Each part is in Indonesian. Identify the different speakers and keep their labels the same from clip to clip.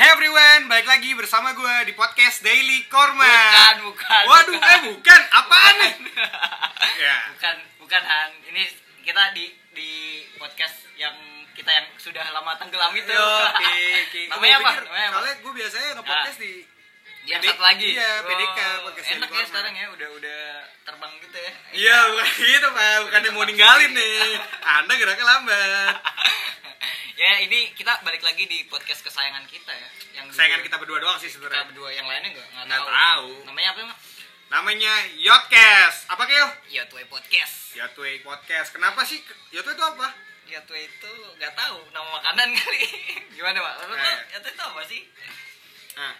Speaker 1: everyone, balik lagi bersama gue di podcast Daily Korma.
Speaker 2: Bukan, bukan,
Speaker 1: Waduh,
Speaker 2: bukan.
Speaker 1: eh bukan, apaan nih? ya.
Speaker 2: bukan bukan Han ini kita di di podcast yang kita yang sudah lama tenggelam itu
Speaker 1: Yo, oke, oke.
Speaker 2: namanya
Speaker 1: Gua
Speaker 2: apa
Speaker 1: pikir,
Speaker 2: namanya apa
Speaker 1: Soalnya gue biasanya nge-podcast di
Speaker 2: yang
Speaker 1: PD
Speaker 2: satu lagi
Speaker 1: Iya, PDK,
Speaker 2: Oh,
Speaker 1: podcast
Speaker 2: enak
Speaker 1: Daily
Speaker 2: ya
Speaker 1: Corner.
Speaker 2: sekarang ya udah udah terbang gitu ya
Speaker 1: Iya, bukan gitu, Pak. Bukan yang mau ninggalin nih. Anda geraknya lambat.
Speaker 2: ya ini kita balik lagi di podcast kesayangan kita ya yang dulu
Speaker 1: Sayangan kita berdua doang sih
Speaker 2: kita
Speaker 1: sebenarnya.
Speaker 2: berdua yang lainnya nggak nggak
Speaker 1: Nggak
Speaker 2: tahu.
Speaker 1: tahu.
Speaker 2: namanya apa emang
Speaker 1: Namanya Yotcast. Apa kyo?
Speaker 2: Yotway Podcast
Speaker 1: Yotway Podcast. Kenapa sih? Yotway itu apa?
Speaker 2: Yotway Ya, itu nggak tahu nama makanan kali gimana pak menurut lo
Speaker 1: Eh.
Speaker 2: Yotway itu apa sih
Speaker 1: Nah.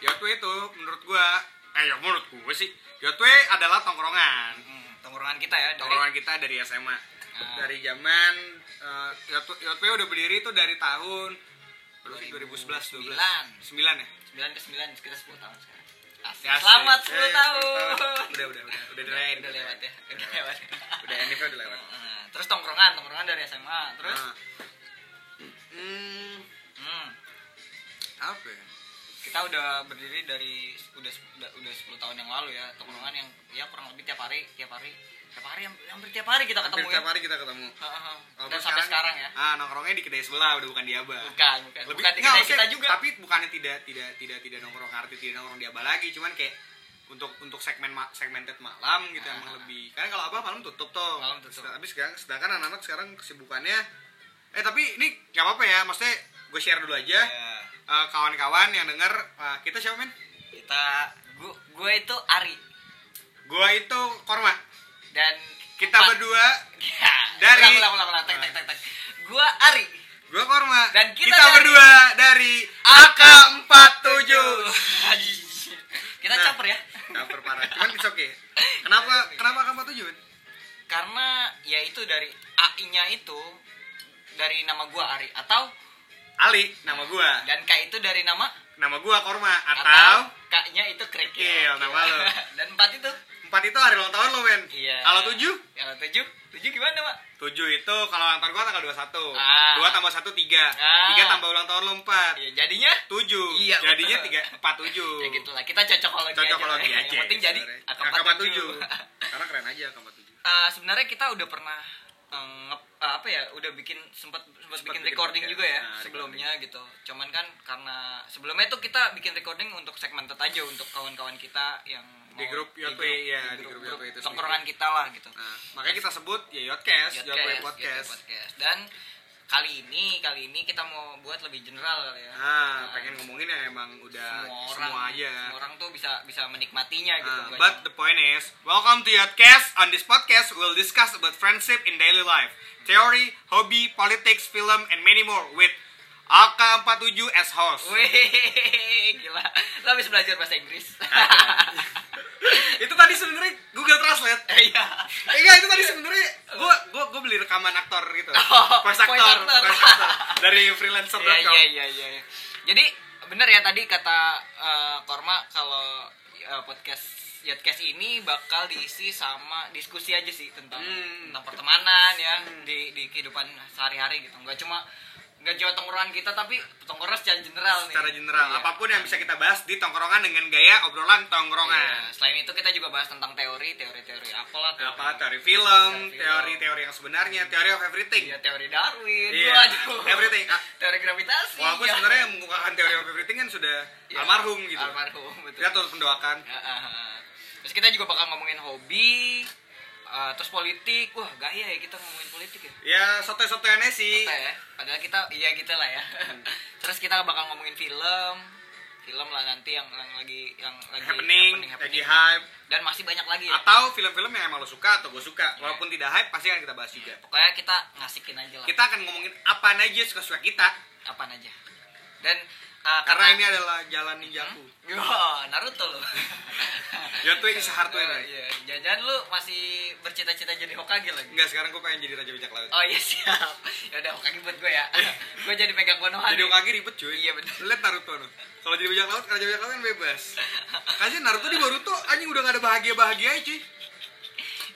Speaker 1: Yotwe itu menurut gua, eh ya menurut gua sih, Yotwe adalah tongkrongan.
Speaker 2: hmm, tongkrongan kita ya dari
Speaker 1: Tongkrongan kita dari SMA.
Speaker 2: Ah.
Speaker 1: Dari zaman eh, Yotwe, Yotwe udah berdiri itu dari tahun berapa sih? 2011 12 9 ya.
Speaker 2: 9 ke 9 kita 10 tahun sekarang. Asik.
Speaker 1: Ya, asik.
Speaker 2: Selamat
Speaker 1: Eh,
Speaker 2: 10 tahun.
Speaker 1: Udah udah udah udah udah
Speaker 2: udah lewat ya. Udah lewat.
Speaker 1: Udah ini udah lewat.
Speaker 2: Nah, terus tongkrongan, tongkrongan dari SMA. Terus
Speaker 1: Nah. Hmm,
Speaker 2: hmm,
Speaker 1: apa ya?
Speaker 2: kita udah berdiri dari udah udah, udah 10 tahun yang lalu ya, tongkrongan yang ya kurang lebih tiap hari, tiap hari, tiap hari ham- hampir tiap hari kita
Speaker 1: Hampir
Speaker 2: ketemu
Speaker 1: tiap
Speaker 2: ya.
Speaker 1: hari kita ketemu.
Speaker 2: Ha, ha, ha.
Speaker 1: Kalau
Speaker 2: Dan
Speaker 1: gua
Speaker 2: sampai sekarang ya.
Speaker 1: Ah, nongkrongnya di kedai sebelah udah bukan di Abah.
Speaker 2: Bukan, bukan.
Speaker 1: lebih
Speaker 2: bukan di
Speaker 1: nggak,
Speaker 2: kedai
Speaker 1: maksudnya,
Speaker 2: kita juga.
Speaker 1: tapi bukannya tidak tidak tidak tidak nongkrong arti tidak nongkrong di abah lagi cuman kayak untuk untuk segmen ma- segmented malam gitu
Speaker 2: Ah.
Speaker 1: emang lebih karena kalau abah malam tutup tuh
Speaker 2: Malam tutup.
Speaker 1: Sedang- tapi sekarang sedangkan anak-anak sekarang kesibukannya eh tapi ini nggak apa-apa ya maksudnya gue share dulu aja
Speaker 2: Ya,
Speaker 1: Eh, kawan-kawan yang denger eh, kita siapa men
Speaker 2: kita gua, gua itu Ari
Speaker 1: gue itu korma
Speaker 2: dan
Speaker 1: kita
Speaker 2: Pak.
Speaker 1: berdua
Speaker 2: Ya,
Speaker 1: dari-
Speaker 2: ulang, ulang, ulang, ulang. Tek, tek, tek, tek. Gua Ari.
Speaker 1: gue korma
Speaker 2: Dan kita dari-
Speaker 1: berdua dari AK47
Speaker 2: kita
Speaker 1: Nah.
Speaker 2: caper ya
Speaker 1: Caper parah cuman it's okay kenapa kenapa kamu tujuh men
Speaker 2: karena ya itu dari AI nya itu dari nama gua Ari atau
Speaker 1: Ali nama gua
Speaker 2: dan K itu dari nama
Speaker 1: nama gua Korma atau
Speaker 2: K nya itu Krikil
Speaker 1: Krikil, nama lu.
Speaker 2: dan empat itu
Speaker 1: empat itu hari ulang tahun lo men
Speaker 2: Iya.
Speaker 1: kalau tujuh
Speaker 2: ya tujuh tujuh gimana mak
Speaker 1: tujuh itu kalau ulang tahun gua tanggal dua satu
Speaker 2: Ah.
Speaker 1: dua tambah satu tiga
Speaker 2: Ah.
Speaker 1: tiga tambah ulang tahun lo empat
Speaker 2: ya jadinya
Speaker 1: tujuh
Speaker 2: Iya,
Speaker 1: jadinya
Speaker 2: betul.
Speaker 1: tiga empat tujuh
Speaker 2: ya gitulah kita cocokologi
Speaker 1: cocok kalau
Speaker 2: lah
Speaker 1: dia
Speaker 2: ya.
Speaker 1: aja
Speaker 2: yang penting jadi
Speaker 1: sebenarnya.
Speaker 2: angka
Speaker 1: Angka
Speaker 2: empat
Speaker 1: tujuh
Speaker 2: tujuh
Speaker 1: karena keren aja angka empat tujuh
Speaker 2: Eh, sebenarnya kita udah pernah eh, nge- eh, apa ya udah bikin sempat sempat
Speaker 1: Sempat
Speaker 2: bikin
Speaker 1: bikin
Speaker 2: recording
Speaker 1: podcast.
Speaker 2: juga ya
Speaker 1: Nah,
Speaker 2: sebelumnya gitu cuman kan karena sebelumnya itu kita bikin recording untuk segmented aja untuk kawan-kawan kita yang
Speaker 1: Di
Speaker 2: mau-
Speaker 1: grup
Speaker 2: di
Speaker 1: Yotwe,
Speaker 2: grup-
Speaker 1: ya, di
Speaker 2: di grup,
Speaker 1: grup
Speaker 2: grup
Speaker 1: Yotwe itu
Speaker 2: tongkrongan kita lah gitu
Speaker 1: nah makanya kita sebut ya Yotcast
Speaker 2: Yotcast,
Speaker 1: Yotwe
Speaker 2: Yotwe
Speaker 1: podcast
Speaker 2: podcast dan kali ini kali ini kita mau buat lebih general kali ya
Speaker 1: ah pengen ngomongin yang emang udah
Speaker 2: semua orang
Speaker 1: semua aja
Speaker 2: semua orang tuh bisa bisa menikmatinya gitu
Speaker 1: Uh,
Speaker 2: nggak
Speaker 1: but the point is, welcome to Yodcast. On this podcast, we'll discuss about friendship in daily life, theory, hobby, politics, film, and many more with AK47 as host.
Speaker 2: Wih, gila. Lo habis belajar bahasa Inggris.
Speaker 1: itu tadi sebenarnya Google Translate.
Speaker 2: Eh, Iya.
Speaker 1: Eh enggak, itu tadi sebenarnya gua gua gua beli rekaman aktor gitu.
Speaker 2: Oh,
Speaker 1: voice
Speaker 2: voice
Speaker 1: actor,
Speaker 2: actor.
Speaker 1: voice actor. dari
Speaker 2: Iya,
Speaker 1: freelancer.com.
Speaker 2: iya, iya, iya. iya. Jadi bener ya tadi kata eh, Korma kalau eh, podcast Yodcast ini bakal diisi sama diskusi aja sih tentang
Speaker 1: Hmm.
Speaker 2: tentang pertemanan ya di di kehidupan sehari-hari gitu. Enggak cuma enggak cuma tongkrongan kita tapi tongkrongan secara general nih.
Speaker 1: Secara general,
Speaker 2: Iya.
Speaker 1: apapun yang bisa kita bahas di tongkrongan dengan gaya obrolan tongkrongan.
Speaker 2: Iya, Selain itu kita juga bahas tentang teori, teori-teori apalah.
Speaker 1: Apa teori film,
Speaker 2: Teori film.
Speaker 1: teori-teori yang sebenarnya, teori of everything.
Speaker 2: Iya, teori Darwin.
Speaker 1: Iya,
Speaker 2: Waduh.
Speaker 1: everything. Ah,
Speaker 2: Teori gravitasi.
Speaker 1: Walaupun
Speaker 2: iya.
Speaker 1: sebenarnya yang mengungkapkan teori of everything kan sudah
Speaker 2: Iya,
Speaker 1: almarhum gitu.
Speaker 2: Almarhum, betul.
Speaker 1: Kita turut mendoakan.
Speaker 2: Ya, ah, ah. Terus kita juga bakal ngomongin hobi, eh, terus politik. Wah, gaya ya kita ngomongin politik ya.
Speaker 1: Ya sotoy-sotoyannya sih.
Speaker 2: Kita ya, padahal kita iya gitu lah ya.
Speaker 1: Hmm.
Speaker 2: terus kita bakal ngomongin film, film lah nanti yang, yang lagi yang lagi
Speaker 1: Happening, lagi hype.
Speaker 2: Dan masih banyak lagi ya.
Speaker 1: Atau film-film yang emang lo suka atau gue suka.
Speaker 2: Iya.
Speaker 1: Walaupun tidak hype pasti akan kita bahas juga.
Speaker 2: Pokoknya kita ngasikin aja lah.
Speaker 1: Kita akan ngomongin apa aja suka-suka kita.
Speaker 2: Apaan aja. Dan eh,
Speaker 1: Karena ini adalah jalan
Speaker 2: Iya.
Speaker 1: ninjaku.
Speaker 2: Wah, Naruto lo.
Speaker 1: Ya, tuh ini sehardware, ya.
Speaker 2: Iya, jangan lu masih bercita-cita jadi Hokage lagi.
Speaker 1: Enggak, sekarang gue pengen jadi Raja Bajak Laut.
Speaker 2: Oh iya siap. Ya udah Hokage buat gue ya. gue jadi pegang konoha.
Speaker 1: Iya. Jadi
Speaker 2: nih.
Speaker 1: Hokage ribet cuy.
Speaker 2: Oh, Iya, bener.
Speaker 1: Lihat Naruto no. Kalau jadi Bajak Laut, Raja Bajak Laut kan bebas. Kasian Naruto di Boruto anjing udah gak ada bahagia-bahagia cuy.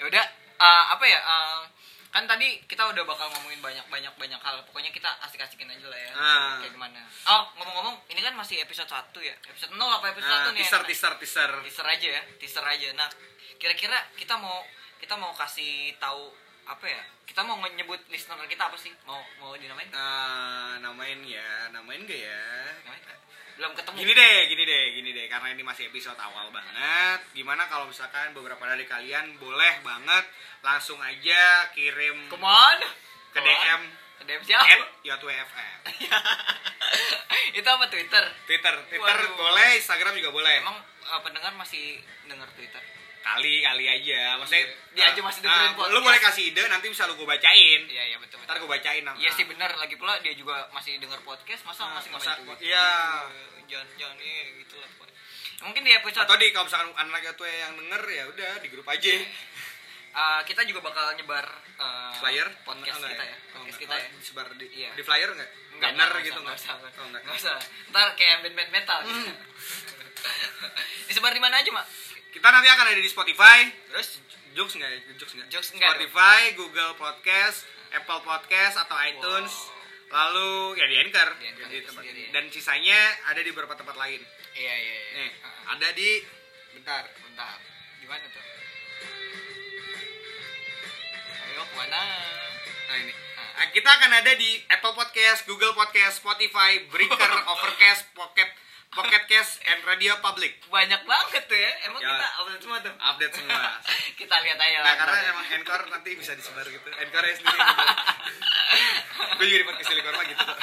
Speaker 2: Ya udah eh, apa ya? eh, kan tadi kita udah bakal ngomongin banyak banyak banyak hal pokoknya kita asik-asikin aja lah ya
Speaker 1: Ah.
Speaker 2: kayak gimana oh ngomong-ngomong ini kan masih episode 1 ya episode 0 apa episode
Speaker 1: Nah,
Speaker 2: 1 nih
Speaker 1: teaser,
Speaker 2: Enak?
Speaker 1: teaser, teaser.
Speaker 2: teaser aja ya teaser aja nah kira-kira kita mau kita mau kasih tahu apa ya kita mau nyebut listener kita apa sih mau mau dinamain
Speaker 1: Eh, namain ya, namain gak ya?
Speaker 2: Namain? belum ketemu
Speaker 1: Gini deh, gini deh, gini deh, karena ini masih episode awal banget. Gimana kalau misalkan beberapa dari kalian boleh banget langsung aja kirim
Speaker 2: kemana
Speaker 1: ke DM
Speaker 2: ke DM siapa
Speaker 1: at YWFM.
Speaker 2: itu apa Twitter
Speaker 1: Twitter, Twitter
Speaker 2: Waduh.
Speaker 1: boleh, Instagram juga boleh.
Speaker 2: emang eh, pendengar masih denger Twitter
Speaker 1: kali kali aja, maksudnya
Speaker 2: Iya. Dia aja masih
Speaker 1: eh,
Speaker 2: dengerin podcast.
Speaker 1: Lu boleh kasih ide, nanti bisa lu gue bacain.
Speaker 2: iya iya betul
Speaker 1: Ntar
Speaker 2: betul
Speaker 1: gue bacain nanti.
Speaker 2: iya sih benar lagi pula dia juga masih denger podcast masa
Speaker 1: Nah,
Speaker 2: masih
Speaker 1: masa-
Speaker 2: ngapain tweet
Speaker 1: iya.
Speaker 2: Eh, jangan jangan iya, gitu lah pokoknya. mungkin di episode
Speaker 1: Atau di kalau misalkan anak itu yang denger ya udah di grup aja.
Speaker 2: Iya. Eh, kita juga bakal nyebar eh,
Speaker 1: Flyer
Speaker 2: podcast
Speaker 1: Enggak
Speaker 2: kita
Speaker 1: ya?
Speaker 2: ya
Speaker 1: Oh,
Speaker 2: podcast
Speaker 1: enggak.
Speaker 2: kita
Speaker 1: Oh,
Speaker 2: ya
Speaker 1: Disebar di,
Speaker 2: Iya.
Speaker 1: di flyer enggak?
Speaker 2: Enggak,
Speaker 1: Banner
Speaker 2: enggak
Speaker 1: gitu
Speaker 2: usah,
Speaker 1: enggak?
Speaker 2: usah,
Speaker 1: Oh,
Speaker 2: enggak usah.
Speaker 1: enggak. Hmm.
Speaker 2: Enggak usah. ntar kayak band band metal gitu. disebar di mana aja mak
Speaker 1: Kita nanti akan ada di Spotify.
Speaker 2: terus
Speaker 1: Jokes enggak ya? Jokes enggak?
Speaker 2: Jokes enggak
Speaker 1: Spotify, Google Podcast, Apple Podcast atau iTunes. Lalu ya di Anchor,
Speaker 2: Di Anchor
Speaker 1: Jadi
Speaker 2: itu
Speaker 1: tempat-
Speaker 2: sendiri ya.
Speaker 1: dan sisanya ada di beberapa tempat lain.
Speaker 2: iya iya iya
Speaker 1: Nih,
Speaker 2: Heeh.
Speaker 1: ada di bentar.
Speaker 2: bentar di mana tuh ayo kemana
Speaker 1: Nah ini.
Speaker 2: Ah.
Speaker 1: Ah, Kita akan ada di Apple Podcast, Google Podcast, Spotify, Breaker, Overcast, Pocket, Pocket Cast, and Radio Public.
Speaker 2: banyak banget tuh ya emang
Speaker 1: Ya.
Speaker 2: kita update semua tuh
Speaker 1: Update semua.
Speaker 2: kita lihat aja lah
Speaker 1: Nah, karena
Speaker 2: ntar ya.
Speaker 1: emang Encore nanti bisa disebar gitu. Encore ya sendiri. Gue juga di podcast Silikon mah gitu. kok.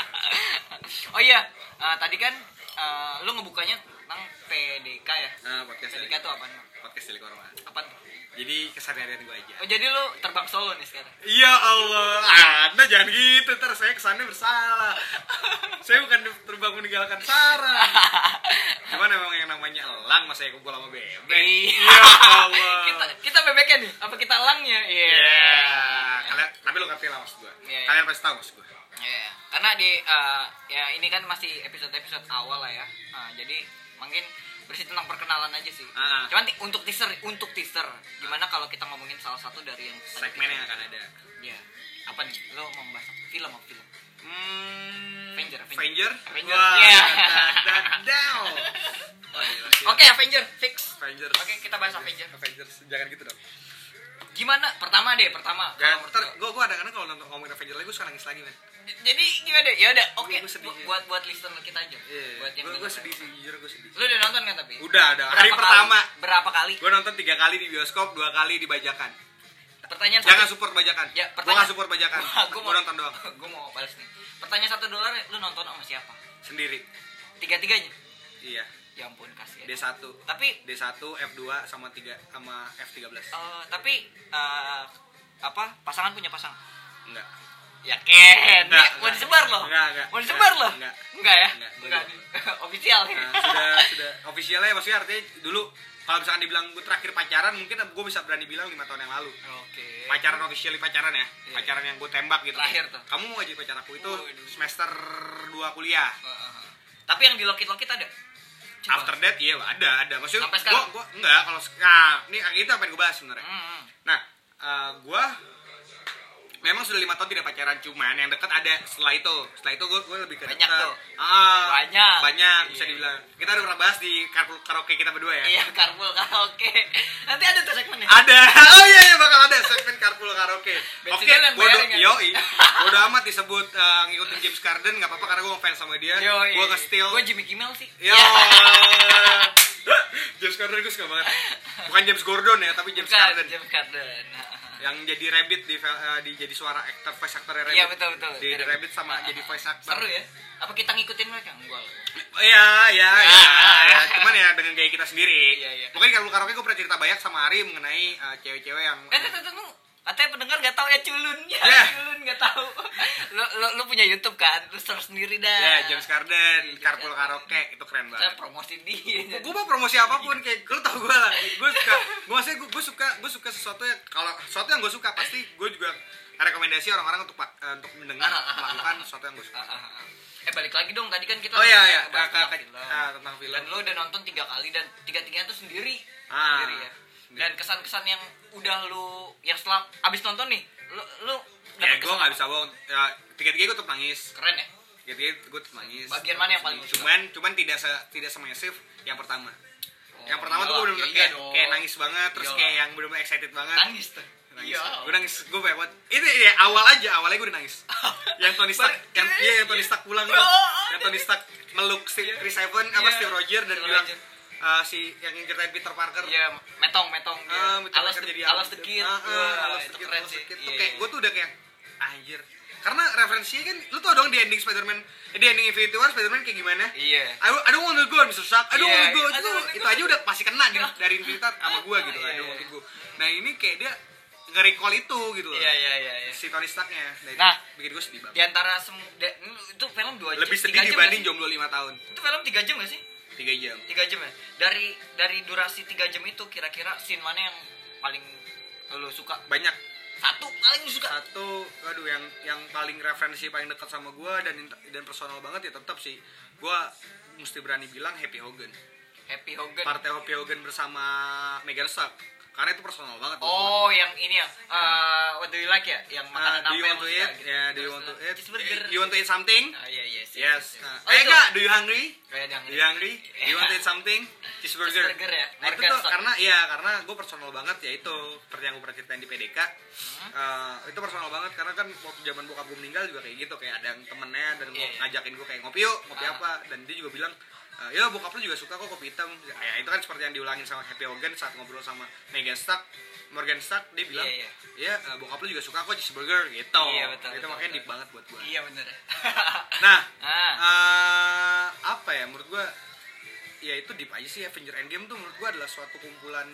Speaker 2: oh iya eh, tadi kan eh, lu ngebukanya tentang PDK ya
Speaker 1: Nah, podcast
Speaker 2: PDK
Speaker 1: Silikon.
Speaker 2: tuh apa Mak?
Speaker 1: Podcast Silikon mah.
Speaker 2: apa tuh?
Speaker 1: Jadi keseharian gue aja.
Speaker 2: Oh, jadi lu terbang solo nih sekarang?
Speaker 1: Ya Allah, Anda jangan gitu, ntar saya kesannya bersalah. saya bukan terbang meninggalkan Sarah. Cuman emang yang namanya elang masa ya kumpul sama bebek. Ya Allah.
Speaker 2: kita kita bebeknya nih, apa kita langnya? Iya.
Speaker 1: Ya, kalian tapi lu ngerti lah maksud gue.
Speaker 2: Iya, iya.
Speaker 1: Kalian pasti tahu maksud gue.
Speaker 2: Iya, Karena di eh, ya ini kan masih episode-episode awal lah ya. Ah, jadi mungkin bersih tentang perkenalan aja sih.
Speaker 1: Ah.
Speaker 2: Cuman ti- untuk teaser, untuk teaser, gimana kalau kita ngomongin salah satu dari yang tadi
Speaker 1: Segmen
Speaker 2: kita-
Speaker 1: yang akan ada.
Speaker 2: Iya. Apa nih? Lo mau membahas apa? film apa film?
Speaker 1: Hmm,
Speaker 2: Avenger,
Speaker 1: Avenger.
Speaker 2: Avenger. Avenger.
Speaker 1: Wah,
Speaker 2: Yeah.
Speaker 1: that down. Oh, gila, gila.
Speaker 2: Oke, Avenger fix.
Speaker 1: Avengers.
Speaker 2: Oke, kita bahas Avenger.
Speaker 1: Avengers. Jangan gitu dong.
Speaker 2: Gimana? Pertama deh, pertama.
Speaker 1: Jangan,
Speaker 2: Kalau
Speaker 1: ntar
Speaker 2: menurut lo.
Speaker 1: gue gue ada kadang kalau nonton ngomongin Avengers lagi gue suka nangis lagi men.
Speaker 2: J- Jadi gimana? Ya udah, oke.
Speaker 1: Gua- gua sedih. Iya,
Speaker 2: Bu- Buat buat listener kita aja. Buat yang
Speaker 1: Gue gue
Speaker 2: denger.
Speaker 1: sedih sih, jujur gue sedih.
Speaker 2: Lu udah nonton kan tapi?
Speaker 1: Udah ada. Hari pertama
Speaker 2: Kali? Berapa kali?
Speaker 1: gue nonton tiga kali di bioskop, dua kali di bajakan.
Speaker 2: Pertanyaan
Speaker 1: Jangan
Speaker 2: satu.
Speaker 1: support bajakan.
Speaker 2: Ya,
Speaker 1: gue
Speaker 2: pertanyaan.
Speaker 1: gak support bajakan.
Speaker 2: Wah, gua
Speaker 1: Gue nonton doang
Speaker 2: Gua mau balas nih. Pertanyaan satu dolar lu nonton sama siapa?
Speaker 1: sendiri.
Speaker 2: Tiga-tiganya?
Speaker 1: Iya.
Speaker 2: Ya ampun kasihan.
Speaker 1: D 1
Speaker 2: Tapi
Speaker 1: D 1 F 2 sama 3 sama F 13
Speaker 2: eh, tapi eh, apa? Pasangan punya pasang.
Speaker 1: Enggak.
Speaker 2: Ya Ken,
Speaker 1: Enggak,
Speaker 2: Ini mau
Speaker 1: enggak.
Speaker 2: disebar loh.
Speaker 1: Enggak, enggak.
Speaker 2: Mau disebar
Speaker 1: Enggak,
Speaker 2: loh.
Speaker 1: enggak.
Speaker 2: ya?
Speaker 1: Enggak,
Speaker 2: Enggak.
Speaker 1: dulu.
Speaker 2: Official. ya?
Speaker 1: Nah, sudah sudah officialnya maksudnya artinya dulu kalau misalkan dibilang gue terakhir pacaran mungkin gue bisa berani bilang lima tahun yang lalu
Speaker 2: Oke.
Speaker 1: pacaran officially pacaran ya
Speaker 2: Iya.
Speaker 1: pacaran yang gue tembak gitu
Speaker 2: Eh. Terakhir tuh.
Speaker 1: kamu mau jadi pacar aku itu
Speaker 2: Waduh.
Speaker 1: semester 2 kuliah
Speaker 2: Eh, eh, eh. Tapi yang dilokit-lokit ada? Coba.
Speaker 1: after that iya ada ada maksudnya gue
Speaker 2: Sampai sekarang?
Speaker 1: gue enggak kalau sek- nah ini itu apa yang gue bahas sebenarnya
Speaker 2: Hmm, hmm.
Speaker 1: nah gue memang sudah lima tahun tidak pacaran cuman yang dekat ada setelah itu setelah itu gue lebih ke
Speaker 2: Banyak
Speaker 1: deket.
Speaker 2: tuh.
Speaker 1: Ah,
Speaker 2: Banyak.
Speaker 1: banyak bisa
Speaker 2: Iya.
Speaker 1: dibilang kita udah pernah bahas di karaoke karaoke kita berdua ya
Speaker 2: Iya, karpul karaoke. Nanti ada tuh segmennya.
Speaker 1: ada oh iya iya bakal ada segmen carpool karaoke oke
Speaker 2: Bensinnya lu yang
Speaker 1: bodo
Speaker 2: bayarin kan?
Speaker 1: yoi bodo amat disebut eh, ngikutin James Carden nggak apa-apa karena gue ngefans sama dia gue nge-steal
Speaker 2: Gue Jimmy Kimmel sih.
Speaker 1: yo
Speaker 2: Iya.
Speaker 1: James Carden gue suka banget bukan James Gordon ya tapi James
Speaker 2: Bukan, Nah.
Speaker 1: Carden
Speaker 2: James Carden.
Speaker 1: yang jadi rabbit di, fel- eh, di jadi suara aktor voice aktornya rabbit
Speaker 2: Iya, betul, betul.
Speaker 1: di
Speaker 2: Jadi
Speaker 1: The rabbit sama jadi voice actor
Speaker 2: Seru ya. Apa kita ngikutin mereka? Enggak. lah.
Speaker 1: Iya, iya, iya,
Speaker 2: Ah.
Speaker 1: iya. Cuman ya dengan gaya kita sendiri.
Speaker 2: Iya, iya.
Speaker 1: Mungkin kalau karaoke gue pernah cerita banyak sama Ari mengenai eh, cewek-cewek yang
Speaker 2: Eh, tuh, tuh, tuh, tuh. Katanya pendengar gak tahu ya culun. Ya,
Speaker 1: Iya.
Speaker 2: culun gak tahu. Lu, lu, lu punya YouTube kan? Lu search sendiri dah.
Speaker 1: Ya, James Carden,
Speaker 2: Iya, James
Speaker 1: Carpool
Speaker 2: Carden.
Speaker 1: Karaoke, itu keren
Speaker 2: Saya
Speaker 1: banget.
Speaker 2: promosi dia.
Speaker 1: Gue mau promosi apapun kayak lu tau gue lah. Gue suka, gue maksudnya gue suka, gue suka sesuatu yang kalau sesuatu yang gue suka pasti gue juga rekomendasi orang-orang untuk pak- eh, untuk mendengar melakukan sesuatu yang gue
Speaker 2: Ah,
Speaker 1: suka.
Speaker 2: ah, ah. Eh balik lagi dong tadi kan kita
Speaker 1: Oh iya iya,
Speaker 2: bahas
Speaker 1: Kak-
Speaker 2: tentang
Speaker 1: Kak-
Speaker 2: film.
Speaker 1: ah, tentang film.
Speaker 2: dan lo udah nonton tiga kali dan tiga tiganya tuh sendiri
Speaker 1: Ah.
Speaker 2: sendiri ya dan kesan kesan yang udah lo yang setelah abis nonton nih lu lu
Speaker 1: ya gue nggak bisa bohong ya, tiga tiga gue tetap nangis
Speaker 2: keren ya
Speaker 1: tiga tiga gue tetap nangis
Speaker 2: bagian mana yang paling lu suka?
Speaker 1: cuman cuman tidak se tidak semasif yang pertama yang pertama tuh gue
Speaker 2: Iyalah,
Speaker 1: bener-bener
Speaker 2: iya
Speaker 1: kayak,
Speaker 2: dong.
Speaker 1: kayak nangis banget terus
Speaker 2: Iyalah.
Speaker 1: kayak yang bener-bener excited banget
Speaker 2: nangis tuh
Speaker 1: nangis
Speaker 2: Iya.
Speaker 1: gue nangis gue banyak banget itu ya awal aja awalnya gue udah nangis yang Tony Stark
Speaker 2: Balik-
Speaker 1: yang iya yang Tony Stark pulang tuh yang Tony Stark meluk si Chris Evans apa
Speaker 2: Oh, Iya.
Speaker 1: Steve Roger dan
Speaker 2: Steve
Speaker 1: bilang
Speaker 2: Roger.
Speaker 1: eh, si yang ceritain Peter Parker
Speaker 2: iya metong metong dia
Speaker 1: Ah, Peter
Speaker 2: alas
Speaker 1: Parker
Speaker 2: jadi
Speaker 1: alas.
Speaker 2: alas tekit
Speaker 1: Ah, ah, alas
Speaker 2: itu
Speaker 1: tekit,
Speaker 2: keren
Speaker 1: alas
Speaker 2: sih
Speaker 1: tekit.
Speaker 2: Iya,
Speaker 1: tuh kayak
Speaker 2: iya.
Speaker 1: gue tuh udah kayak anjir karena referensinya kan lu tau dong di ending Spider-Man eh, di ending Infinity War Spider-Man kayak gimana
Speaker 2: iya
Speaker 1: I, I don't wanna go, Mr. Shark. I don't
Speaker 2: Iya,
Speaker 1: wanna go.
Speaker 2: I
Speaker 1: Itu,
Speaker 2: don't wanna
Speaker 1: itu
Speaker 2: go.
Speaker 1: aja udah pasti kena di, dari Infinity sama gua gitu. I
Speaker 2: Iya,
Speaker 1: don't
Speaker 2: iya.
Speaker 1: wanna go. Nah ini kayak dia nge-recall itu gitu loh.
Speaker 2: iya iya iya iya.
Speaker 1: Si Tony Starknya. Nah, itu
Speaker 2: Nah.
Speaker 1: bikin gua sedih
Speaker 2: di
Speaker 1: banget.
Speaker 2: antara semua itu film dua jam
Speaker 1: Lebih sedih
Speaker 2: tiga jam
Speaker 1: dibanding
Speaker 2: nggak
Speaker 1: jomblo
Speaker 2: sih?
Speaker 1: 5 tahun.
Speaker 2: itu film tiga jam gak sih
Speaker 1: 3 jam.
Speaker 2: tiga jam ya dari dari durasi tiga jam itu kira-kira scene mana yang paling lo suka
Speaker 1: Banyak.
Speaker 2: satu paling lu suka
Speaker 1: Satu, aduh yang yang paling referensi paling dekat sama gua dan int- dan personal banget ya tetap sih. Gua mesti berani bilang Happy Hogan.
Speaker 2: Happy Hogan
Speaker 1: Partai Happy Hogan bersama Megan Stark. Karena itu personal banget. buat gua.
Speaker 2: oh yang ini ya eh, what do you like ya yang
Speaker 1: Nah,
Speaker 2: makanan
Speaker 1: do
Speaker 2: apa
Speaker 1: you
Speaker 2: yang
Speaker 1: want
Speaker 2: lu
Speaker 1: to
Speaker 2: suka
Speaker 1: eat?
Speaker 2: gitu.
Speaker 1: Ya, do you
Speaker 2: Terus,
Speaker 1: want to
Speaker 2: eh,
Speaker 1: eat?
Speaker 2: cheeseburger
Speaker 1: Do you want to eat something?
Speaker 2: ah iya iya sip,
Speaker 1: Yes.
Speaker 2: sip, sip.
Speaker 1: Nah,
Speaker 2: Oh,
Speaker 1: eh
Speaker 2: itu.
Speaker 1: enggak, do you hungry?
Speaker 2: kayak yang
Speaker 1: Do you hungry? Do you want to eat something? Cheeseburger.
Speaker 2: Cheeseburger ya,
Speaker 1: Nah, itu
Speaker 2: Morgan
Speaker 1: tuh
Speaker 2: Stone.
Speaker 1: karena ya karena gue personal banget ya itu seperti yang gue pernah ceritain di PDK.
Speaker 2: Hmm?
Speaker 1: Eh, itu personal banget karena kan waktu zaman bokap gue meninggal juga kayak gitu kayak ada yang temennya dan
Speaker 2: Iya, iya.
Speaker 1: ngajakin gue kayak ngopi yuk ngopi
Speaker 2: Ah.
Speaker 1: apa dan dia juga bilang "Eh, ya bokap lu juga suka kok kopi hitam ya, itu kan seperti yang diulangin sama Happy Hogan saat ngobrol sama Megan Stark Morgan Stark dia bilang
Speaker 2: Iya,
Speaker 1: ya eh, bokap lu juga suka kok cheeseburger gitu
Speaker 2: Iya,
Speaker 1: itu
Speaker 2: betul, betul,
Speaker 1: makanya
Speaker 2: betul.
Speaker 1: deep banget buat gue
Speaker 2: iya bener
Speaker 1: nah
Speaker 2: ah
Speaker 1: eh apa ya menurut gua ya itu deep aja sih Avenger Endgame tuh menurut gua adalah suatu kumpulan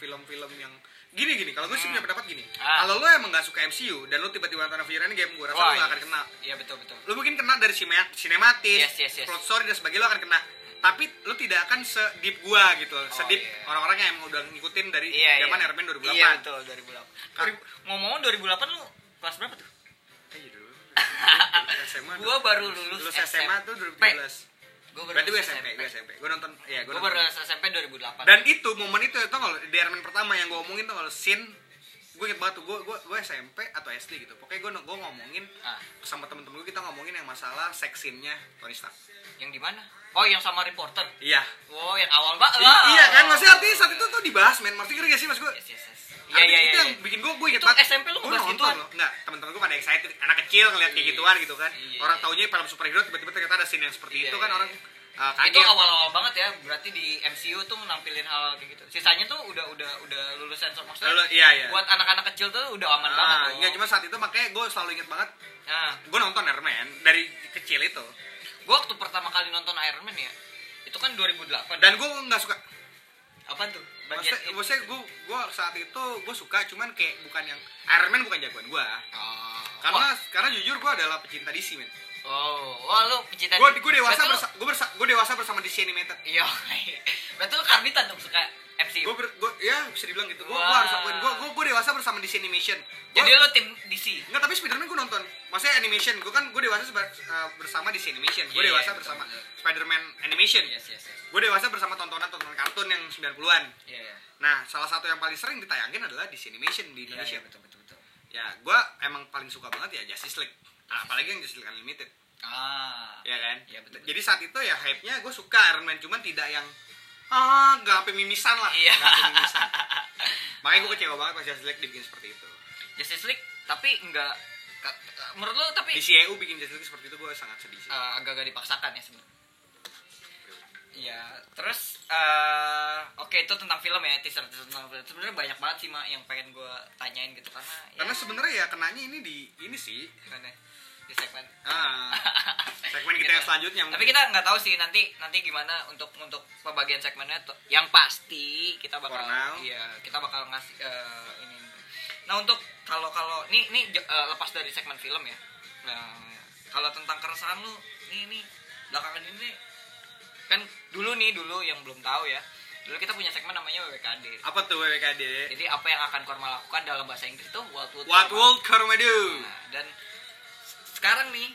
Speaker 1: film-film yang gini gini kalau gue sih punya pendapat gini
Speaker 2: Ah.
Speaker 1: kalau lo emang gak suka MCU dan lo tiba-tiba nonton Avenger Endgame gue rasa lo
Speaker 2: Wah,
Speaker 1: gak
Speaker 2: iya.
Speaker 1: akan kena
Speaker 2: iya betul betul
Speaker 1: lo mungkin kena dari sime- sinematis
Speaker 2: Yes, yes, yes.
Speaker 1: plot story dan sebagainya lo akan kena tapi lo tidak akan sedip gua gitu sedip
Speaker 2: iya.
Speaker 1: orang-orang yang emang udah ngikutin dari
Speaker 2: iya
Speaker 1: zaman
Speaker 2: iya.
Speaker 1: Iron Man 2008
Speaker 2: iya betul 2008
Speaker 1: Kar-
Speaker 2: ngomong-ngomong 2008 lu kelas berapa tuh
Speaker 1: Iya dulu. SMA
Speaker 2: Gua
Speaker 1: dong.
Speaker 2: baru lulus
Speaker 1: lulus SMA tuh 2013
Speaker 2: gue
Speaker 1: berarti gue SMP gue SMP gue nonton ya gue
Speaker 2: gue
Speaker 1: nonton
Speaker 2: baru SMP 2008
Speaker 1: dan itu momen itu tau gak lo, di Iron Man pertama yang gue omongin tau gak lo, scene gue inget banget tuh gue gue gue SMP atau SD gitu pokoknya gue gue ngomongin
Speaker 2: ah
Speaker 1: sama temen-temen gue kita ngomongin yang masalah seksinnya Tony Stark
Speaker 2: yang di mana oh yang sama reporter
Speaker 1: iya
Speaker 2: wow yang awal mbak
Speaker 1: I- iya kan
Speaker 2: Oh.
Speaker 1: maksudnya artinya saat itu tuh dibahas men maksudnya ngerti gak sih mas gue
Speaker 2: yes yes yes iya
Speaker 1: Artinya itu
Speaker 2: iya iya
Speaker 1: yang bikin gue gue inget
Speaker 2: Itu SMP lu
Speaker 1: Gua
Speaker 2: ngebahas
Speaker 1: nonton
Speaker 2: gituan?
Speaker 1: loh. Enggak, teman-teman gue pada excited anak kecil ngeliat kayak
Speaker 2: Iya.
Speaker 1: gituan gitu kan
Speaker 2: Iya.
Speaker 1: orang taunya film superhero tiba-tiba ternyata ada scene yang seperti
Speaker 2: Iya,
Speaker 1: itu kan
Speaker 2: iya.
Speaker 1: orang uh,
Speaker 2: itu
Speaker 1: kaget.
Speaker 2: awal-awal banget ya berarti di MCU tuh menampilin hal kayak gitu sisanya tuh udah udah udah lulusan sensor maksudnya
Speaker 1: Lalu, iya iya
Speaker 2: buat anak-anak kecil tuh udah aman banget
Speaker 1: Ah,
Speaker 2: loh.
Speaker 1: Iya, cuma saat itu makanya gue selalu inget banget
Speaker 2: nah
Speaker 1: gue nonton Iron Man dari kecil itu
Speaker 2: gue waktu pertama kali nonton Iron Man ya itu kan 2008
Speaker 1: dan gue nggak suka
Speaker 2: apa tuh bagian
Speaker 1: maksudnya,
Speaker 2: itu
Speaker 1: maksudnya gue gue saat itu gue suka cuman kayak bukan yang Iron Man bukan jagoan gue karena karena jujur gue adalah pecinta DC men
Speaker 2: oh wah lu pecinta
Speaker 1: gue gue dewasa
Speaker 2: Berarti lu-
Speaker 1: bersa, gue bersa, gue dewasa bersama DC animated
Speaker 2: iya berarti lu karbitan dong suka MCU
Speaker 1: gue ber, gue ya bisa dibilang gitu gue
Speaker 2: Wah.
Speaker 1: harus akuin gue gue dewasa bersama DC animation Gua-
Speaker 2: jadi lu tim DC
Speaker 1: Enggak, tapi Spider-Man gue nonton. Maksudnya animation, gue kan gue dewasa seba- eh, bersama DC animation. Gue
Speaker 2: Iya,
Speaker 1: dewasa
Speaker 2: iya,
Speaker 1: bersama
Speaker 2: betul,
Speaker 1: Spider-Man animation.
Speaker 2: yes yes yes
Speaker 1: Gue dewasa bersama tontonan-tontonan kartun yang 90-an.
Speaker 2: Iya, iya.
Speaker 1: Nah, salah satu yang paling sering ditayangin adalah DC animation di
Speaker 2: Iya,
Speaker 1: Indonesia.
Speaker 2: iya, betul betul betul.
Speaker 1: Ya, gue emang paling suka banget ya Justice League. Nah, apalagi yang Justice League Unlimited,
Speaker 2: Ah.
Speaker 1: ya kan?
Speaker 2: Iya, betul, betul.
Speaker 1: Jadi saat itu ya hype-nya gue suka Iron Man, cuman tidak yang ah nggak sampai mimisan lah.
Speaker 2: Iya.
Speaker 1: Nggak sampai mimisan. Makanya gue kecewa banget pas Justice League dibikin seperti itu.
Speaker 2: Justice League tapi enggak ka- menurut lu tapi
Speaker 1: DC EU bikin Justice League seperti itu gue sangat sedih sih.
Speaker 2: eh, agak-agak dipaksakan ya sebenarnya. Iya, terus eh oke itu tentang film ya, teaser, teaser tentang film. Sebenarnya banyak banget sih mak yang pengen gue tanyain gitu karena ya,
Speaker 1: Karena sebenarnya ya kenanya ini di ini sih.
Speaker 2: gimana ya, di segmen.
Speaker 1: Ah, segmen kita yang selanjutnya.
Speaker 2: Tapi kita nggak tahu sih nanti nanti gimana untuk untuk pembagian segmennya tuh. Yang pasti kita bakal
Speaker 1: For now.
Speaker 2: iya, kita bakal ngasih eh, ini. Nah, untuk kalau kalau ini ini j- eh, lepas dari segmen film ya. Nah, kalau tentang keresahan lu nih nih belakangan ini nih, kan dulu nih dulu yang belum tahu ya. Dulu kita punya segmen namanya WWKD.
Speaker 1: apa tuh WWKD?
Speaker 2: Jadi apa yang akan Korma lakukan dalam bahasa Inggris itu What would
Speaker 1: What
Speaker 2: Korma-
Speaker 1: World Cormadu?
Speaker 2: Nah, dan se- sekarang nih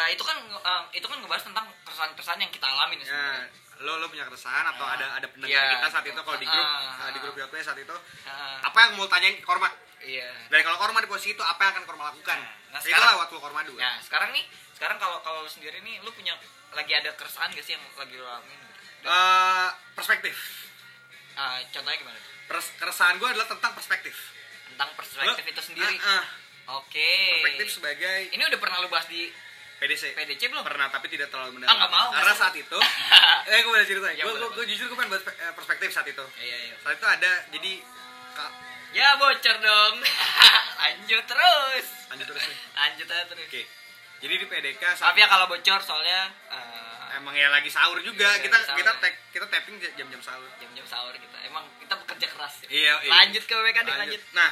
Speaker 2: eh, itu kan nge- eh, itu kan ngebahas tentang keresahan-keresahan yang kita alamin ya
Speaker 1: Ya,
Speaker 2: sebenarnya.
Speaker 1: lo lo punya keresahan atau
Speaker 2: Ah.
Speaker 1: ada ada pendengar
Speaker 2: Iya,
Speaker 1: kita saat
Speaker 2: betul.
Speaker 1: itu kalau di grup
Speaker 2: Ah.
Speaker 1: ah, di grup YOTW saat itu
Speaker 2: Ah,
Speaker 1: apa yang mau tanyain ke Korma
Speaker 2: iya
Speaker 1: dan kalau Korma di posisi itu apa yang akan Korma lakukan
Speaker 2: Nah,
Speaker 1: nah,
Speaker 2: sekarang-
Speaker 1: waktu Korma dua
Speaker 2: nah sekarang nih sekarang kalau kalau lu sendiri nih lu punya lagi ada keresahan gak sih yang lagi lu alamin gitu? Dan,
Speaker 1: Eh, perspektif
Speaker 2: ah, contohnya gimana tuh?
Speaker 1: Pers- keresahan gue adalah tentang perspektif
Speaker 2: tentang perspektif
Speaker 1: Lo-
Speaker 2: itu sendiri Eh.
Speaker 1: Ah, ah.
Speaker 2: oke
Speaker 1: perspektif sebagai
Speaker 2: ini udah pernah lu bahas di
Speaker 1: PDC
Speaker 2: PDC belum
Speaker 1: pernah tapi tidak terlalu mendalam
Speaker 2: Ah, nggak mau,
Speaker 1: karena
Speaker 2: nggak
Speaker 1: saat itu eh gue boleh cerita
Speaker 2: Ya,
Speaker 1: gue
Speaker 2: boleh,
Speaker 1: gue- gue
Speaker 2: boleh.
Speaker 1: jujur gue pengen buat pe- eh, perspektif saat itu
Speaker 2: iya iya
Speaker 1: saat itu ada jadi ka-
Speaker 2: ya bocor dong lanjut terus
Speaker 1: lanjut terus nih
Speaker 2: lanjut aja terus
Speaker 1: oke jadi di PDK saat
Speaker 2: tapi ya kalau bocor soalnya eh,
Speaker 1: emang ya lagi sahur juga
Speaker 2: Iya,
Speaker 1: kita
Speaker 2: lagi sahur
Speaker 1: kita
Speaker 2: ya.
Speaker 1: tag- kita tapping j- jam-jam sahur
Speaker 2: jam-jam sahur kita emang kita bekerja keras ya.
Speaker 1: iya
Speaker 2: lanjut ke WKD lanjut,
Speaker 1: lanjut nah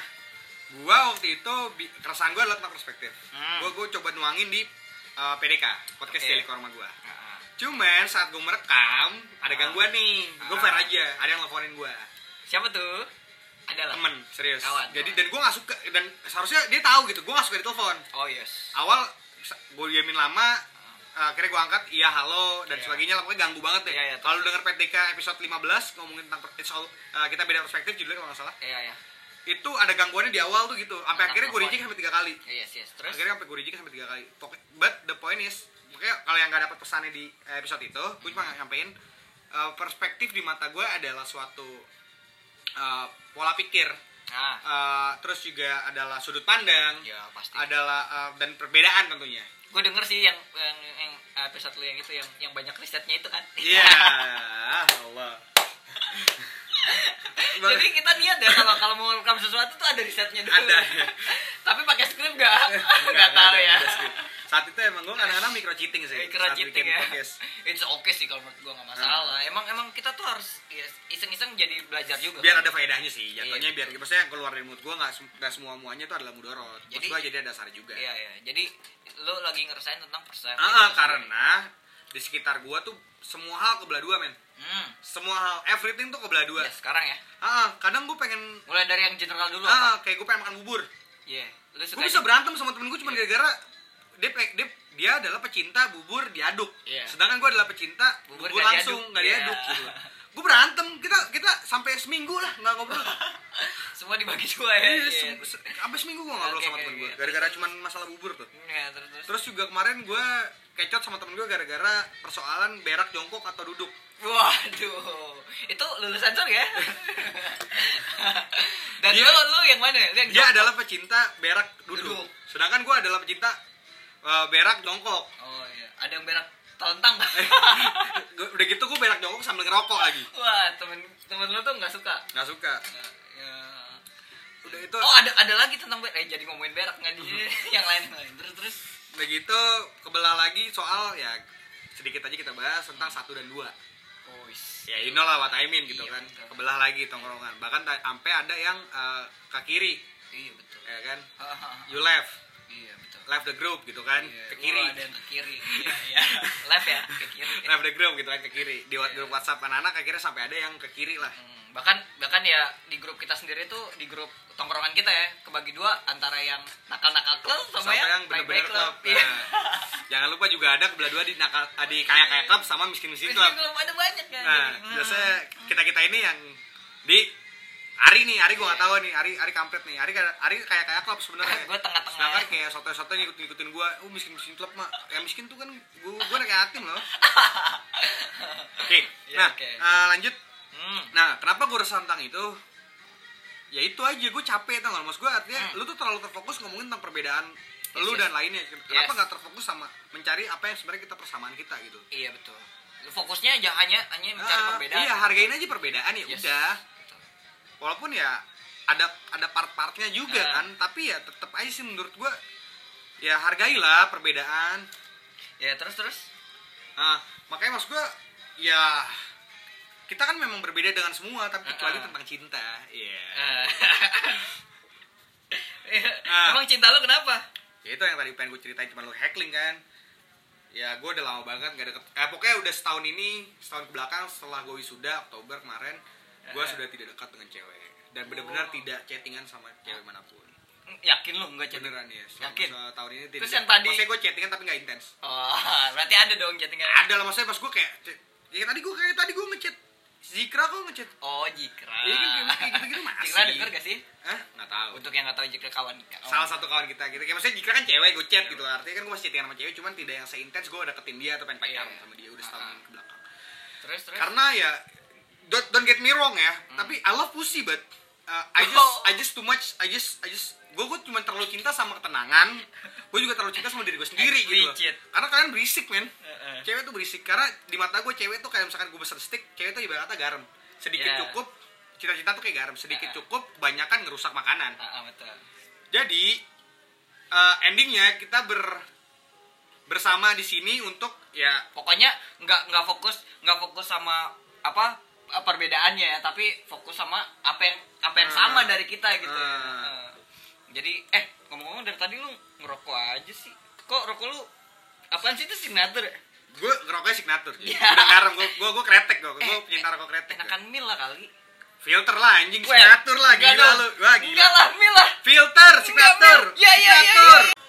Speaker 1: gua waktu itu bi- keresahan gua adalah tentang perspektif
Speaker 2: Hmm.
Speaker 1: gua gua coba nuangin di eh, PDK podcast
Speaker 2: Oke.
Speaker 1: Daily Korma gua
Speaker 2: Ah,
Speaker 1: cuman saat gua merekam ada
Speaker 2: Ah.
Speaker 1: gangguan nih gua
Speaker 2: Ah.
Speaker 1: fair aja ada yang nelfonin gua
Speaker 2: siapa tuh adalah
Speaker 1: temen serius
Speaker 2: Kawan,
Speaker 1: jadi
Speaker 2: kawan.
Speaker 1: dan gue nggak suka dan seharusnya dia tahu gitu gue nggak suka ditelepon
Speaker 2: oh yes
Speaker 1: awal gue diamin lama eh, akhirnya gue angkat iya halo dan
Speaker 2: Iya.
Speaker 1: sebagainya lah, pokoknya ganggu banget deh
Speaker 2: Iya, iya,
Speaker 1: kalau lu denger PTK episode 15 ngomongin tentang per- it's all- eh, kita beda perspektif judulnya kalau nggak salah
Speaker 2: iya ya
Speaker 1: itu ada gangguannya di awal tuh gitu sampai
Speaker 2: Tentang
Speaker 1: akhirnya gue
Speaker 2: telepon.
Speaker 1: reject sampai tiga kali
Speaker 2: Oh, yes yes terus
Speaker 1: akhirnya sampai gue reject sampai tiga kali Pokok- but the point is makanya kalau yang nggak dapat pesannya di eh, episode itu gue cuma
Speaker 2: Hmm.
Speaker 1: nyampein eh, perspektif di mata gue adalah suatu eh, pola pikir
Speaker 2: ah
Speaker 1: Uh, terus juga adalah sudut pandang
Speaker 2: ya pasti
Speaker 1: adalah uh, dan perbedaan tentunya
Speaker 2: gue denger sih yang yang, yang episode lu yang itu yang yang banyak risetnya itu kan
Speaker 1: iya Allah
Speaker 2: jadi kita niat ya kalau kalau mau rekam sesuatu tuh ada risetnya dulu
Speaker 1: Ada.
Speaker 2: tapi pakai skrip gak
Speaker 1: Nggak,
Speaker 2: nggak
Speaker 1: nggak
Speaker 2: tahu
Speaker 1: ada,
Speaker 2: ya
Speaker 1: nggak ada script. saat itu emang gue kadang-kadang micro cheating sih
Speaker 2: Micro
Speaker 1: saat
Speaker 2: cheating
Speaker 1: bikin
Speaker 2: ya.
Speaker 1: podcast. Ah.
Speaker 2: It's okay sih kalau menurut gue gak masalah. Emang emang kita tuh harus ya, iseng-iseng jadi belajar juga.
Speaker 1: biar
Speaker 2: kan?
Speaker 1: ada faedahnya sih jatuhnya
Speaker 2: Iya.
Speaker 1: biar maksudnya yang keluar dari mulut gue nggak semua muanya itu adalah mudorot jadi
Speaker 2: Jadi-
Speaker 1: gue jadi ada dasar juga
Speaker 2: Iya iya. Jadi lo lagi ngerasain tentang gitu. persen.
Speaker 1: Ah, ah, karena di sekitar gue tuh semua hal kebelah dua men
Speaker 2: Hmm.
Speaker 1: semua hal everything tuh kebelah dua
Speaker 2: Ya, sekarang ya.
Speaker 1: Ah, ah, kadang gue pengen
Speaker 2: Mulai dari yang general dulu.
Speaker 1: ah,
Speaker 2: apa?
Speaker 1: kayak gue pengen makan bubur
Speaker 2: Iya. Lo suka.
Speaker 1: gue bisa berantem sama temen gue cuma
Speaker 2: Iya.
Speaker 1: gara-gara dia, pe- dia dia adalah pecinta bubur diaduk
Speaker 2: Iya.
Speaker 1: sedangkan gue adalah pecinta
Speaker 2: Bubur
Speaker 1: bubur,
Speaker 2: nggak
Speaker 1: langsung
Speaker 2: diaduk.
Speaker 1: nggak
Speaker 2: Iya.
Speaker 1: diaduk gitu gue berantem kita kita sampai seminggu lah nggak ngobrol
Speaker 2: Semua dibagi dua ya.
Speaker 1: Iya,
Speaker 2: Iya.
Speaker 1: se- se- sampai seminggu gue ngobrol
Speaker 2: Oke,
Speaker 1: sama
Speaker 2: oke,
Speaker 1: temen gue
Speaker 2: oke.
Speaker 1: gara-gara cuman masalah bubur tuh
Speaker 2: Iya, terus terus.
Speaker 1: terus juga kemarin gue kecot sama temen gue gara-gara persoalan berak jongkok atau duduk
Speaker 2: Waduh, itu lulusan sur ya? Dan
Speaker 1: Dia-
Speaker 2: lo, lo yang mana? Lo yang
Speaker 1: dia
Speaker 2: jawab.
Speaker 1: adalah pecinta berak duduk,
Speaker 2: Eh, Duduk.
Speaker 1: sedangkan gue adalah pecinta eh, berak jongkok
Speaker 2: Oh iya, ada yang berak telentang.
Speaker 1: Gua- udah gitu gue berak jongkok sambil ngerokok lagi
Speaker 2: Wah, temen temen lo tuh nggak suka.
Speaker 1: nggak suka
Speaker 2: Nah, ya.
Speaker 1: udah itu
Speaker 2: Oh ada ada lagi tentang berak. Eh jadi ngomongin berak nggak di yang lain yang lain. Terus terus.
Speaker 1: Udah gitu kebelah lagi soal ya sedikit aja kita bahas tentang satu dan dua.
Speaker 2: Oh, is.
Speaker 1: Ya you know lah what I mean gitu
Speaker 2: Iya,
Speaker 1: kan.
Speaker 2: betul.
Speaker 1: Kebelah lagi tongkrongan. Bahkan ta- sampai ada yang eh, ke kiri
Speaker 2: Iya betul.
Speaker 1: ya kan.
Speaker 2: Hahaha.
Speaker 1: You left,
Speaker 2: iya betul.
Speaker 1: left the group gitu kan.
Speaker 2: Iya,
Speaker 1: Ke kiri.
Speaker 2: wah, ada yang ke kiri. Iya iya. Left ya ke kiri.
Speaker 1: Left the group gitu kan ke kiri. Di wa- grup WhatsApp anak-anak akhirnya sampai ada yang ke kiri lah.
Speaker 2: Hmm, bahkan bahkan ya di grup kita sendiri tuh di grup tongkrongan kita ya kebagi dua antara yang nakal-nakal club sama,
Speaker 1: Sampai yang bener-bener
Speaker 2: baik-baik
Speaker 1: klub.
Speaker 2: Iya.
Speaker 1: Nah, jangan lupa juga ada kebelah dua di nakal di kayak kayak klub sama miskin-miskin
Speaker 2: Miskin
Speaker 1: klub.
Speaker 2: club ada banyak kan.
Speaker 1: Nah,
Speaker 2: Hmm.
Speaker 1: biasanya kita kita ini yang di Ari nih, Ari gua gak tahu nih, Ari Ari kampret nih, Ari kayak- Ari kayak kayak klub sebenarnya.
Speaker 2: Gua tengah-tengah.
Speaker 1: Sedangkan kayak soto-soto ngikut ngikutin gua, oh miskin miskin klub mah, ya miskin tuh kan gua gua udah kayak yatim loh. Oke,
Speaker 2: Iya,
Speaker 1: nah
Speaker 2: oke.
Speaker 1: eh, lanjut.
Speaker 2: Hmm.
Speaker 1: Nah, kenapa gua resah tentang itu? Ya itu aja, gua capek tau gak? Maksud gua artinya
Speaker 2: Hmm.
Speaker 1: lu tuh terlalu terfokus ngomongin tentang perbedaan
Speaker 2: Yes,
Speaker 1: lu
Speaker 2: yes.
Speaker 1: dan lainnya. Kenapa
Speaker 2: Yes.
Speaker 1: nggak terfokus sama mencari apa yang sebenarnya kita persamaan kita gitu?
Speaker 2: Iya betul. Lu Fokusnya aja hanya hanya mencari
Speaker 1: Ah,
Speaker 2: perbedaan.
Speaker 1: Iya, hargain aja perbedaan ya
Speaker 2: Yes.
Speaker 1: udah.
Speaker 2: Betul.
Speaker 1: walaupun ya ada ada part-partnya juga
Speaker 2: Ah.
Speaker 1: kan tapi ya tetap aja sih menurut gua ya hargailah perbedaan
Speaker 2: Ya terus terus.
Speaker 1: nah, makanya maksud gua ya kita kan memang berbeda dengan semua tapi kecuali
Speaker 2: Ah.
Speaker 1: tentang cinta iya
Speaker 2: Eh.
Speaker 1: Ah.
Speaker 2: Emang cinta lu kenapa?
Speaker 1: ya itu yang tadi pengen gue ceritain cuma lu heckling kan ya gua udah lama banget nggak deket eh, pokoknya udah setahun ini setahun kebelakang setelah gue wisuda Oktober kemarin gua
Speaker 2: Ah.
Speaker 1: sudah tidak dekat dengan cewek dan benar-benar
Speaker 2: Oh.
Speaker 1: tidak chattingan sama cewek manapun
Speaker 2: Yakin lu enggak cinta?
Speaker 1: beneran ya selama-
Speaker 2: Yakin?
Speaker 1: tahun ini tidak
Speaker 2: Terus yang tadi-
Speaker 1: maksudnya gue chattingan tapi nggak intens
Speaker 2: Oh, berarti ada dong chattingan.
Speaker 1: ada lah maksudnya pas gue kayak ya tadi gue kayak tadi gue ngechat Zikra kok ngechat
Speaker 2: Oh, Jikra.
Speaker 1: Iya kan, kayak- kayak gitu-gitu masih.
Speaker 2: Jikra denger gak sih?
Speaker 1: Hah? nggak tahu
Speaker 2: Untuk yang gak tahu Jikra kawan. Oh. kawan.
Speaker 1: salah satu kawan kita gitu kayak maksudnya Jikra kan cewek gue chat
Speaker 2: Iya.
Speaker 1: gitu lah. artinya kan gue masih chattingan sama cewek cuman tidak yang seintens gue deketin dia atau pengen pacaran
Speaker 2: Iya.
Speaker 1: sama dia udah setahun
Speaker 2: Ah.
Speaker 1: ke belakang
Speaker 2: Terus terus.
Speaker 1: karena ya don't, don't get me wrong ya tapi I love pussy but uh, I just I just too much I just I just gue gue cuma terlalu cinta sama ketenangan gue juga terlalu cinta sama diri gue sendiri gitu loh.
Speaker 2: Explicit.
Speaker 1: karena kalian berisik men
Speaker 2: Heeh.
Speaker 1: cewek tuh berisik karena di mata gue cewek tuh kayak misalkan gue besar stick cewek tuh ibarat kata garam sedikit
Speaker 2: Iya.
Speaker 1: cukup cita-cita tuh kayak garam sedikit
Speaker 2: Heeh.
Speaker 1: cukup kebanyakan ngerusak makanan
Speaker 2: Ah, ah, betul.
Speaker 1: jadi eh, endingnya kita ber bersama di sini untuk ya
Speaker 2: Pokoknya nggak nggak fokus nggak fokus sama apa eh, perbedaannya ya, tapi fokus sama apa yang apa yang
Speaker 1: Eh.
Speaker 2: sama dari kita gitu.
Speaker 1: Eh.
Speaker 2: Eh. Jadi eh ngomong-ngomong dari tadi lu ngerokok aja sih. Kok rokok lu apaan sih itu signature? ya?
Speaker 1: gue ngerokoknya signatur
Speaker 2: Iya.
Speaker 1: udah garam gue gue gue kretek gue
Speaker 2: Eh,
Speaker 1: gue pencinta rokok kretek gua.
Speaker 2: Enakan mil lah kali.
Speaker 1: filter lah anjing signatur lah
Speaker 2: enggak
Speaker 1: gila
Speaker 2: dong.
Speaker 1: lu wah gila
Speaker 2: Enggak lah mil lah.
Speaker 1: filter signatur
Speaker 2: Iya, iya, iya,
Speaker 1: signatur
Speaker 2: iya.